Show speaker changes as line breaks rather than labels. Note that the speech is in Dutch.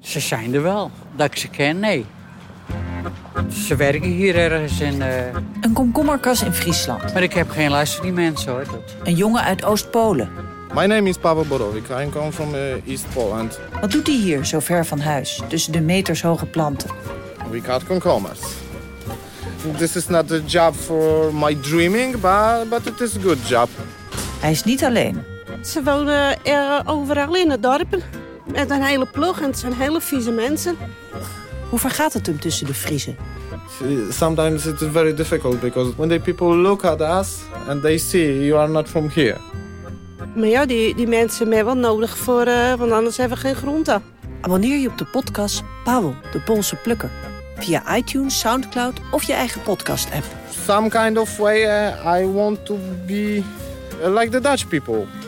ze zijn er wel. Dat ik ze ken, nee. Ze werken hier ergens in. eh,
Een komkommerkas in Friesland.
maar ik heb geen last van die mensen hoor. Dat.
Een jongen uit Oost-Polen.
My name is Pavel Borovic. I come from uh, East Poland.
Wat doet hij hier zo ver van huis, tussen de metershoge planten?
We cut cucumbers. This is not a job for my dreaming, but, but it is a good job.
Hij is niet alleen.
Ze wonen eh, overal in de dorpen. Met een hele ploeg en het zijn hele vieze mensen.
Hoe vergaat het hem tussen de Friesen?
Sometimes it's very difficult because when the people look at us and they see you are not from here.
Maar ja, die, die mensen hebben wel nodig voor, eh, want anders hebben we geen groente.
Abonneer je op de podcast Pavel, de Poolse plukker. Via iTunes, Soundcloud of je eigen podcast-app.
Some kind of way uh, I want to be uh, like the Dutch people.